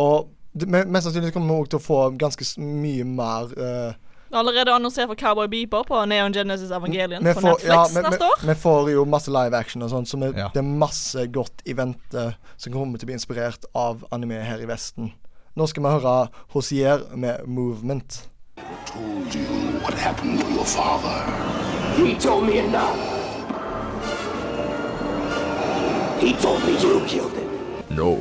E: Og det, me- mest sannsynlig kommer vi òg til å få ganske s- mye mer eh,
F: Allerede annonsert for Cowboy Bebop og Neon Genesis Evangelion
E: vi
F: på
E: får-
F: Netflix
E: ja, vi-
F: neste år.
E: vi, vi får jo masse live action og sånn, så vi,
G: Ja.
E: det er masse godt i vente som kommer til å bli inspirert av anime her i Vesten. Nå skal vi høre Hosier med 'Movement'.
B: told you what happened to your father.
D: He told me enough. He told me you killed him. No,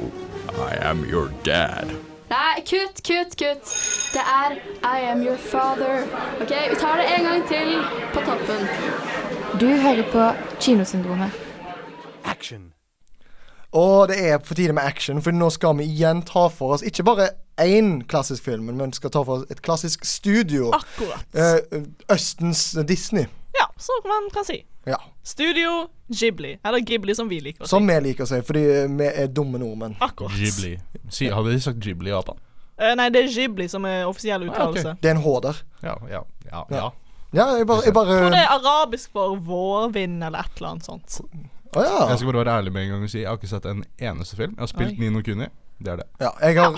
D: I am your dad.
J: Nei, kutt, kutt, kutt. Det er I am your father. Ok, Vi tar det en gang til på toppen.
K: Du hører på Kinosyndromet.
E: Og det er på tide med action, for nå skal vi igjen ta for oss ikke bare én klassisk film, men vi skal ta for oss et klassisk studio.
F: Akkurat.
E: Eh, Østens Disney.
F: Ja, så man kan si.
E: Ja.
F: Studio Ghibli. Eller Ghibli, som vi liker å si.
E: Som vi liker å si, fordi vi er dumme nordmenn.
F: Akkurat.
G: Ghibli. Si, hadde de sagt Ghibli i Japan?
F: Eh, nei, det er Ghibli som er offisiell
G: Ah,
F: uttalelse.
E: Det er en H der.
G: Ja, ja, ja, ja.
E: Ja, jeg bare, jeg bare
F: Og det er arabisk for vårvind eller et eller annet sånt.
E: Å ja.
G: Jeg skal bare være ærlig med en gang og si jeg har ikke sett en eneste film. Jeg har spilt Nino Kuni. Det er det.
E: ja. Jeg har,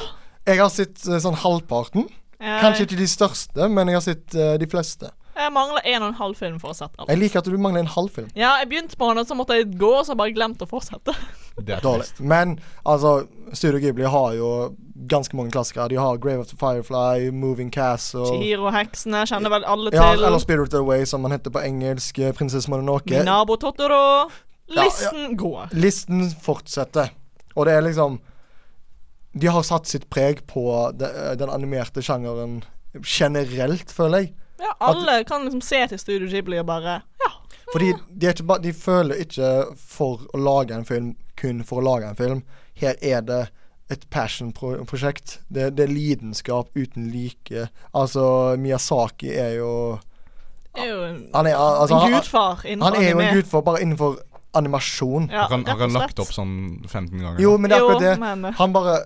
E: jeg har sett eh, sånn halvparten.
F: Eh,
E: Kanskje ikke de største, men jeg har sett eh, de fleste.
F: Jeg mangler en og en halv film for å sette alt.
E: Jeg liker at du mangler en halv film.
F: Ja, jeg begynte på den, og så måtte jeg gå, og så bare glemte å fortsette.
G: Det er
E: Dårlig.
G: trist.
E: Men altså, Studio Ghibli har jo ganske mange klassikere. De har Grave of the Firefly, Moving Castle
F: Chihiro-heksene kjenner vel alle
E: ja,
F: til.
E: Eller Spirited Away, som han heter på engelsk. eh, Prinsesse Mononoke.
F: Min nabo Totoro.
E: Ja,
F: Listen går.
E: Listen fortsetter. Og det er liksom De har satt sitt preg på de, den animerte sjangeren generelt, føler jeg.
F: Ja, alle kan liksom se til Studio Ghibli og bare Ja.
E: Fordi de, er ikke ba, de føler ikke for å lage en film kun for å lage en film. Her er det et passion-prosjekt. Det, det er lidenskap uten like. Altså, Miyazaki er jo
F: Er jo en,
E: Han er, altså,
F: en
E: han,
F: gudfar innenfor
E: han er jo en
F: anime.
E: gudfar bare innenfor animasjon.
F: Ja,
G: Han kan, han
F: rett og
G: kan lagt
F: slett.
G: opp sånn 15 ganger.
E: Jo, men det er
F: Jo,
E: akkurat det.
F: men-
E: Han bare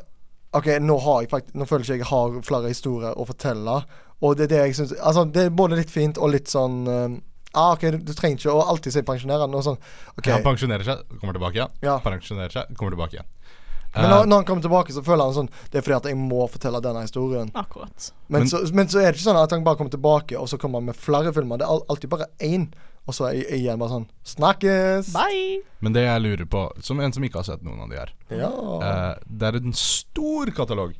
E: OK, nå har jeg faktisk Nå føler jeg ikke jeg har flere historier å fortelle. Og det er det jeg syns Altså, det er både litt fint og litt sånn eh, Ah, OK, du, du trenger ikke å alltid si pensjonerende og sånn. OK.
G: Han pensjonerer seg, kommer tilbake igjen.
E: Ja.
G: Pensjonerer seg, kommer tilbake igjen.
E: Men
G: Eh,
E: når, når han kommer tilbake, så føler han sånn Det er fordi at jeg må fortelle denne historien.
F: Akkurat.
E: Men,
G: Men-
E: så, men så er det ikke sånn at han bare kommer tilbake, og så kommer han med flere filmer. Det er al- alltid bare én. Og så er jeg igjen bare sånn Snakkes!
F: Bye.
G: men det jeg lurer på, som en som ikke har sett noen av de her
E: Ja.
G: eh, Det er en stor katalog.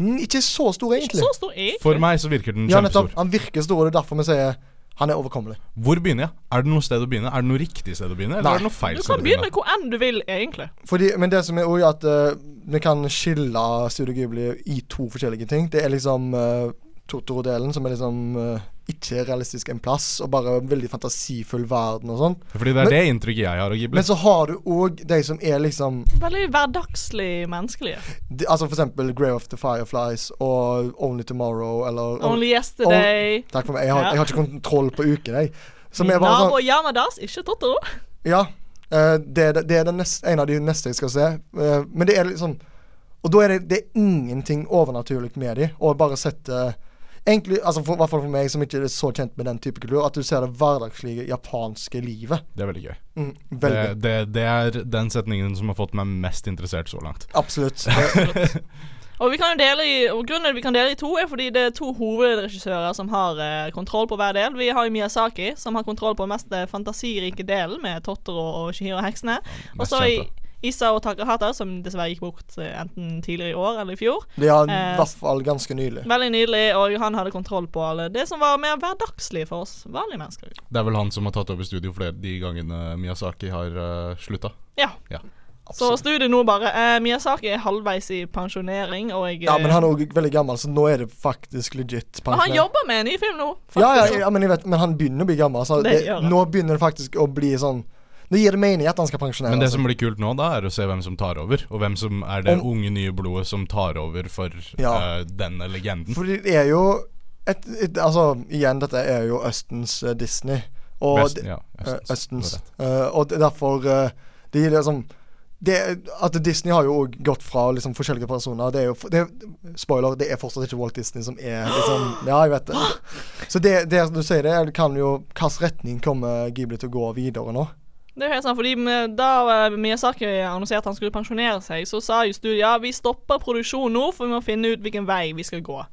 E: Mm, Ikke så stor,
F: Ikke
E: egentlig.
F: så stor jeg.
G: For meg så virker den
E: Ja, nettopp.
G: kjempestor.
E: Han virker stor, og det er derfor vi sier han er overkommelig.
G: Hvor begynner jeg? Er det noe sted å begynne? Er det noe riktig sted å begynne? Eller
E: Nei.
G: er det noe feil
F: Du
G: sted
F: kan
G: å
F: begynne
G: begynne?
F: hvor enn du vil, egentlig.
E: Fordi, men det som er òg, er at eh, vi kan skille Studio Ghibli i to forskjellige ting. Det er liksom eh, Totoro-delen, som er liksom eh, ikke realistisk en plass, og bare veldig fantasifull verden og sånn.
G: Fordi det
E: Men-
G: er det inntrykket jeg har av Ghibli.
E: Men så har du òg de som er liksom
F: Veldig hverdagslig menneskelige.
E: de, Altså for eksempel Grave of the Fireflies og Only Tomorrow eller
F: Only yesterday.
E: Takk for meg. Jeg har,
F: Ja.
E: jeg har ikke kontroll på uken, jeg. Som er
F: Min
E: bare
F: nabo
E: sånn
F: Yamadas, ikke Totoro.
E: Ja. eh, det, er- det er den neste, en av de neste jeg skal se. eh, men det er liksom Og da er det, det er ingenting overnaturlig med de, og bare sette Egentlig, altså for, i hvert fall for meg som ikke er så kjent med den type kultur, at du ser det hverdagslige japanske livet.
G: Det er veldig gøy.
E: Mm,
G: Det,
E: veldig.
G: det, det er den setningen som har fått meg mest interessert så langt.
E: Absolutt. Det,
F: Og, vi kan jo dele i, og grunnen til at vi kan dele i to, er fordi det er to hovedregissører som har eh, kontroll på hver del. Vi har jo Miyazaki, som har kontroll på den mest eh, fantasirike delen, med Totoro og Shihiro og heksene. Og
G: mest
F: så i-
G: kjente.
F: Isao Takahata, som dessverre gikk bort eh, enten tidligere i år eller i fjor.
E: det er i
F: Eh,
E: hvert fall ganske nylig.
F: Veldig nydelig, og han hadde kontroll på alle det som var mer hverdagslig for oss vanlige mennesker.
G: Det er vel han som har tatt over studio flere de gangene Miyazaki har uh, slutta.
F: Ja.
G: Ja.
F: Så studiet nå bare eh, Miyazaki er halvveis i pensjonering, og jeg
E: Ja, men
F: eh,
E: han er òg veldig gammel, så nå er det faktisk legit
F: og han
E: pensjonert.
F: jobber med en ny film nå.
E: Ja, ja,
F: faktisk.
E: ja, men jeg vet, men han begynner å bli gammel. Så det,
F: Det gjør han.
E: nå begynner det faktisk å bli sånn Nå gir det mening at han skal pensjonere
G: Men det
E: seg.
G: som blir kult nå, da, er å se hvem som tar over. Og hvem som er det
E: Om-
G: unge, nye blodet som tar over for
E: Ja.
G: eh, denne legenden.
E: For det er jo et, et, Altså, igjen, dette er jo Østens eh, Disney. Og
G: Vesten,
E: d-
G: ja,
E: eh,
G: Østens.
E: Østens.
G: Det
E: Eh, og det- derfor eh, Det gir liksom det, at Disney har jo òg gått fra liksom forskjellige personer. Det er jo f- det, er- Spoiler, det er fortsatt ikke Walt Disney som er liksom Ja, jeg vet det. Så det, det du sier, det er- kan jo Hvilken retning kommer Ghibli til å gå videre nå?
F: Det er jo helt sant, fordi med- Da eh, Miyazaki annonserte at han skulle pensjonere seg, så sa jo studiet ja, vi stopper produksjonen nå, for vi må finne ut hvilken vei vi skal gå.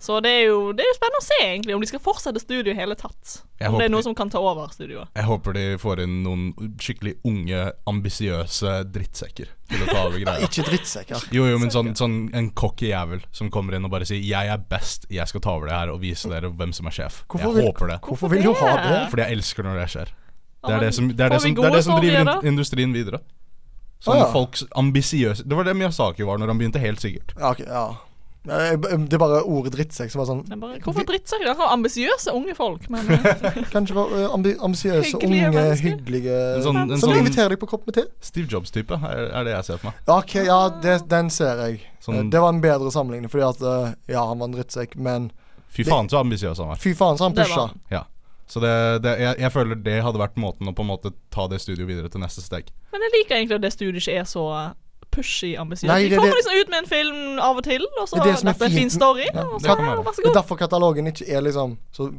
F: Så det er jo, det er jo spennende å se egentlig om de skal fortsette studioet i hele tatt.
G: Jeg
F: om det
G: håper
F: er
G: de-
F: noen som kan ta over studioet.
G: Jeg håper de får inn noen skikkelig unge, ambisiøse drittsekker til å ta over greia.
E: Ikke drittsekker.
G: Jo, jo, men sånn, sånn en cocky jævel som kommer inn og bare sier 'Jeg er best, jeg skal ta over det her og vise dere hvem som er sjef'.
E: Hvorfor
G: jeg
E: vil-
G: håper det.
E: Hvorfor vil du ha det?
G: Fordi jeg elsker når det skjer. Det
F: Ja,
G: er
F: men
G: det som, det er det
F: får vi
G: som, det er
F: gode
G: det som driver
F: storyer, da?
G: in- industrien videre. Sånn
E: Å, ja.
G: folks ambisiøse Det var det Miyazaki var når han begynte, helt sikkert.
E: Ja, ok, ja. Eh, Det er bare ordet drittsekk som er sånn
F: Det er bare, hvorfor drittsekker? Dere har ambisiøse unge folk. Men
E: Kanskje for eh, ambi ambisiøse,
F: Hyggelige
E: unge,
F: mennesker.
E: hyggelige
G: En sånn- en
E: Som
G: sånn-
E: inviterer deg på kopp med te.
G: Steve Jobs-type er, er det jeg ser for meg.
E: Ja, Ok, ja, det, den ser jeg.
G: Sånn-
E: Eh, Det var en bedre sammenligning, fordi at eh, Ja, han var en drittsekk, men
G: Fy
E: Det-
G: faen så ambisiøs han var.
E: Fy faen, så han
F: Det
E: pusha.
F: var han.
G: Ja. Så det, det, jeg, jeg føler det hadde vært måten å på en måte ta det studioet videre til neste steg.
F: Men jeg liker egentlig at det studiet ikke er så eh, pushy ambisiøst.
E: Nei,
F: De
E: det-
F: kommer
E: det-
F: liksom ut med en film av og til, og så
E: Det er det som er
F: dette er en fin
E: fint.
F: story,
E: Ja,
F: og
G: det
F: så
G: kan
F: ja,
G: være.
F: vær så
E: Det er
F: god.
E: derfor katalogen ikke er liksom så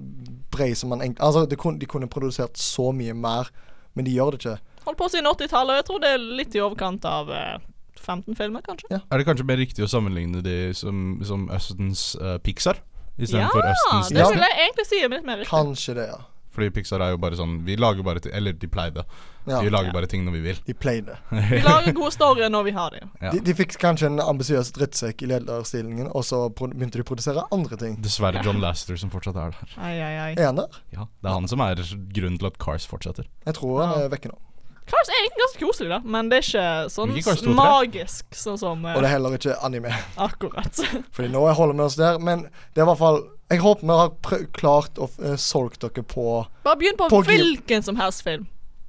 E: bred som man egentlig Altså, det kun, de kunne produsert så mye mer, men de gjør det ikke.
F: Holdt på siden 80-tallet, og jeg tror det er litt i overkant av eh, 15 filmer, kanskje.
G: Er det kanskje mer riktig å sammenligne de som, som Østens eh, Pixar?
F: Ja,
G: Istedenfor ja, Østens
F: det
E: Ja.
F: vil jeg egentlig si er litt mer riktig.
E: Kanskje det, ja.
G: Fordi Pixar er jo bare sånn Vi lager bare ting Eller de pleide.
E: Ja.
G: Vi lager bare ting når vi vil.
E: De pleide.
F: Vi lager gode storyer når vi har det.
G: Ja.
E: De, de fikk kanskje en ambisiøs drittsekk i lederstillingen, og så pro- begynte de å produsere andre ting.
G: Dessverre John Laster som fortsatt er der.
F: Ai, ai, ai.
E: Er han der?
G: Ja, Det er han som er grunnen til at Cars fortsetter.
E: Jeg tror han
F: Ja.
E: er vekke nå.
F: Cars er egentlig ganske koselig, da, men det er ikke sånn
G: Ikke Cars to og tre.
F: magisk sånn som eh,
E: Og det er heller ikke anime.
F: akkurat.
E: Fordi nå holder vi oss der, men det er i hvert fall Jeg håper vi har prø- klart å uh, solgt dere på
F: Bare begynn på,
E: På Gio.
F: hvilken som helst film.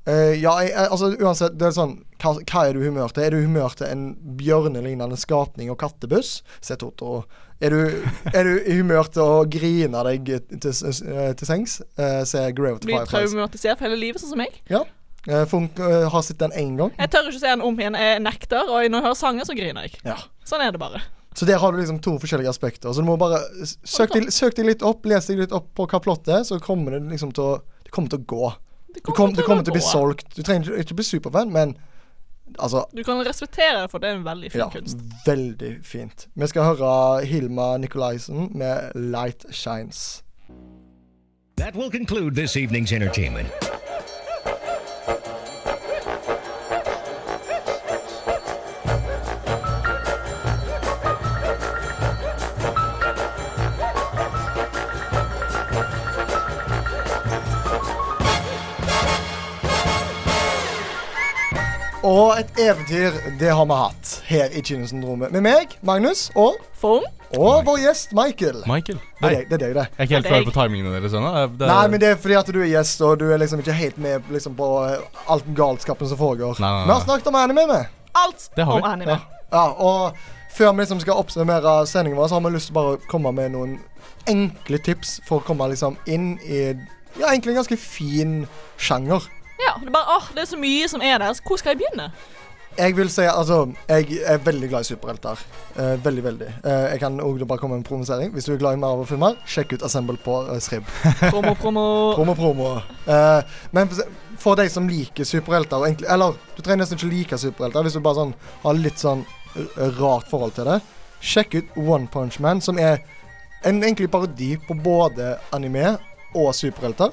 E: eh, Ja, jeg, jeg, altså uansett, det er sånn hva, hva er du i humør til? Er du i humør til en bjørnelignende skapning og kattebuss? Se Totoro. Er du, er du i humør til å grine deg til, s- s- eh, til sengs? Eh, se Gravity
F: Bli
E: Fireflies.
F: traumatisert for hele livet, sånn som meg.
E: Ja. Eh, Funk eh, har sett den én gang.
F: Jeg tør ikke se den om igjen. Jeg nekter, og når jeg hører sanger, så griner jeg.
E: Ja.
F: Sånn er det bare.
E: Så der har du liksom to forskjellige aspekter. Så du må bare s- søk deg, søk deg litt opp, les deg litt opp på hva plottet er, så kommer det liksom til å Det kommer til å gå.
F: Det
E: Du, kom, du kommer til å bli
F: gå.
E: solgt. Du trenger ikke- ikke bli superfan, men altså
F: Du kan respektere det, for det er en veldig fin
E: ja,
F: kunst.
E: veldig fint. Vi skal høre Hilma Nikolaisen med 'Light Shines'.
L: That will conclude this evening's entertainment.
E: Og et eventyr, det har vi hatt her i Kinosyndromet. Med meg, Magnus, og,
F: Form?
E: og vår gjest Michael.
G: Michael.
E: Det er
G: Hei.
E: deg, det. Er deg,
G: Jeg er
E: det.
G: ikke helt
F: Det er
G: klar på timingene deres ennå. Det er-
E: Nei, men det er fordi at du er gjest, og du er liksom ikke helt med liksom, på eh, alt den galskapen som foregår.
G: Nei, nei, nei.
E: Vi har snakket om anime, vi.
F: Alt
G: Det har vi.
F: om anime.
E: Ja, og før vi liksom skal oppsummere sendingen vår, så har vi lyst til bare å komme med noen enkle tips for å komme liksom inn i ja, egentlig en ganske fin sjanger.
F: Ja, det er bare, åh, det er så mye som er der. så Hvor skal jeg begynne?
E: Jeg vil si, altså, jeg er veldig glad i superhelter. Eh, veldig, veldig. Eh, jeg kan også bare komme med en promosering. Hvis du er glad i Marvel-filmer, sjekk ut Assemble på eh, Srib.
F: Promo, promo.
E: Promo, promo. Eh, men for, for deg som liker superhelter og egentlig, Eller du trenger nesten ikke like superhelter hvis du bare sånn, har litt sånn r- rart forhold til det. Sjekk ut One Punch Man, som er en egentlig parodi på både anime og superhelter.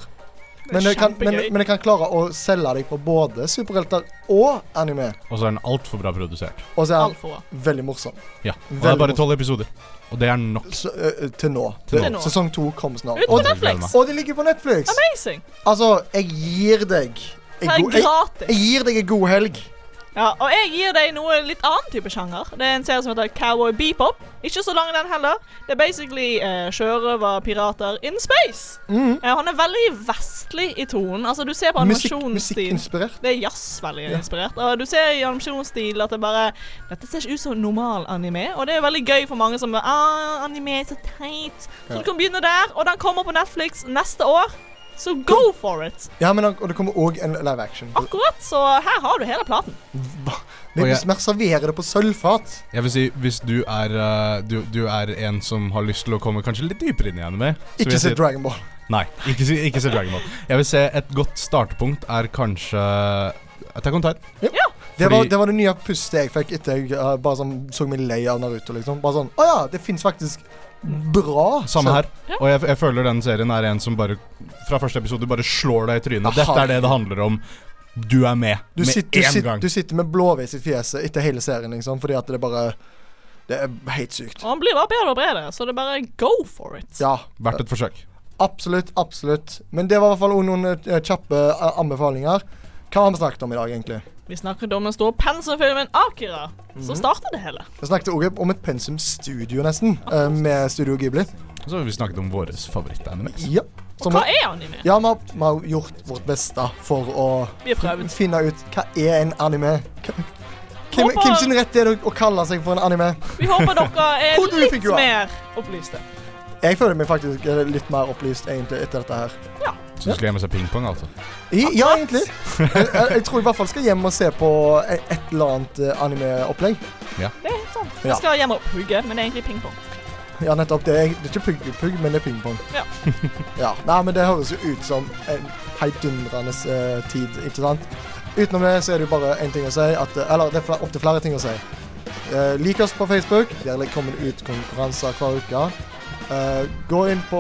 E: Men det, kan, men,
F: kjempegøy.
E: men det kan klare å selge deg på både superhelter og anime.
G: Og så er den altfor bra produsert.
E: Og så er
F: Alt for bra.
E: den veldig morsom.
G: Ja. Og det
E: Veldig
G: er bare
E: morsomt.
G: tolv episoder. Og det er nok.
E: Så, eh, til nå.
G: Til
F: nå.
E: Sesong to kommer snart.
F: Ut på
E: Og,
F: Netflix.
E: og det ligger på Netflix!
F: Amazing.
E: Altså, jeg gir deg en
F: Det er
E: god- jeg, jeg
F: gratis.
E: gir deg en god helg.
F: Ja, og jeg gir deg noe litt annen type sjanger. Det er en serie som heter Cowboy Bebop. Ikke så lang den heller. Det er basically eh, sjørøverpirater in space.
E: Mm.
F: Eh, han er veldig vestlig i tonen. Altså, du ser på
E: Musikk,
F: animasjonsstil
E: musikkinspirert.
F: Det er jazz veldig inspirert. Og du ser i animasjonsstil at det bare Dette ser ikke ut som normal anime, og det er veldig gøy for mange som bare, ah, anime er så teit. Så du kan begynne der, og den kommer på Netflix neste år. Så go for it!
E: Ja, men og det kommer òg en live action.
G: Ah,
F: Akkurat, så her har du hele platen.
E: Vi
G: Og jeg-
E: vi serverer det på sølvfat.
G: Jeg vil si, hvis du er, eh, du, du er en som har lyst til å komme kanskje litt dypere inn i anime så vil
E: Ikke
G: jeg
E: se
G: si-
E: Dragon Ball.
G: Nei, ikke, si- ikke se Dragon Ball. Jeg vil se et godt startpunkt er kanskje eh, Attack on Titan.
E: Det var,
G: Fordi-
E: det var det nye pustet jeg fikk etter jeg eh, bare sånn, så meg lei av Naruto. liksom. Bare sånn Å ja, det fins faktisk bra
G: Samme
E: sølv-
G: her. Og jeg, jeg føler den serien er en som bare fra første episode bare slår deg i trynet.
E: Aha.
G: Dette er det det handler om. Du er med
E: Du,
G: med
E: sitter, du,
G: én
E: sitter,
G: gang.
E: du sitter med blåveis i fjeset etter hele serien, liksom, fordi at det bare Det er helt sykt.
F: Og han blir bare bedre og bedre, så det er bare go for it.
E: Ja.
G: Verdt et forsøk.
E: Absolutt, absolutt. Men det var i hvert fall også noen eh, kjappe eh, anbefalinger. Hva har vi snakket om i dag, egentlig?
F: Vi snakket om den store penselfilmen Akira,
E: Mhm.
F: som startet det hele.
E: Jeg snakket også om et pensumstudio, nesten, eh, med Studio Ghibli.
G: Så har vi snakket om våre favorittanimes.
E: Ja.
F: Og hva er anime?
E: Ja, vi har, vi har gjort vårt beste for å
F: Vi har prøvd.
E: finne ut hva er en anime. Hva- Hvem,
F: Håper-
E: hvem sin rett er det å kalle seg for en anime?
F: Vi håper dere er
E: Hodet vi fikk
F: litt
E: jo av.
F: mer opplyste.
E: Jeg føler meg faktisk eh, litt mer opplyst egentlig etter dette her.
G: Så du skulle jeg med seg pingpong, altså.
E: I, ja, egentlig. Jeg, jeg, jeg tror i hvert fall skal hjem og se på e- et eller annet eh, anime-opplegg.
G: Ja.
F: Det er helt sant.
E: Ja.
F: Jeg skal hjem og hugge, men det er egentlig pingpong.
E: Ja, nettopp. Det er, det er ikke pugg, pugg, men det er pingpong.
F: Ja.
E: Ja. Nei, men det høres jo ut som en heidundrende eh, tid, ikke sant? Utenom det så er det jo bare én ting å si, at, eh, eller det er opptil flere ting å si. Eh, lik oss på Facebook. Der kommer det ut konkurranser hver uke. Eh, gå inn på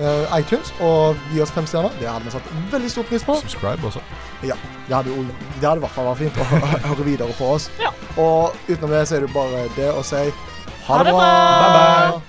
E: eh, iTunes og gi oss fem stjerner. Det hadde vi satt veldig stor pris på.
G: Subscribe også.
E: Ja. Det hadde, jo, det hadde i hvert fall vært fint å høre videre på oss. Og utenom det så er det jo bare det å si ha det bra.
F: Bye-bye.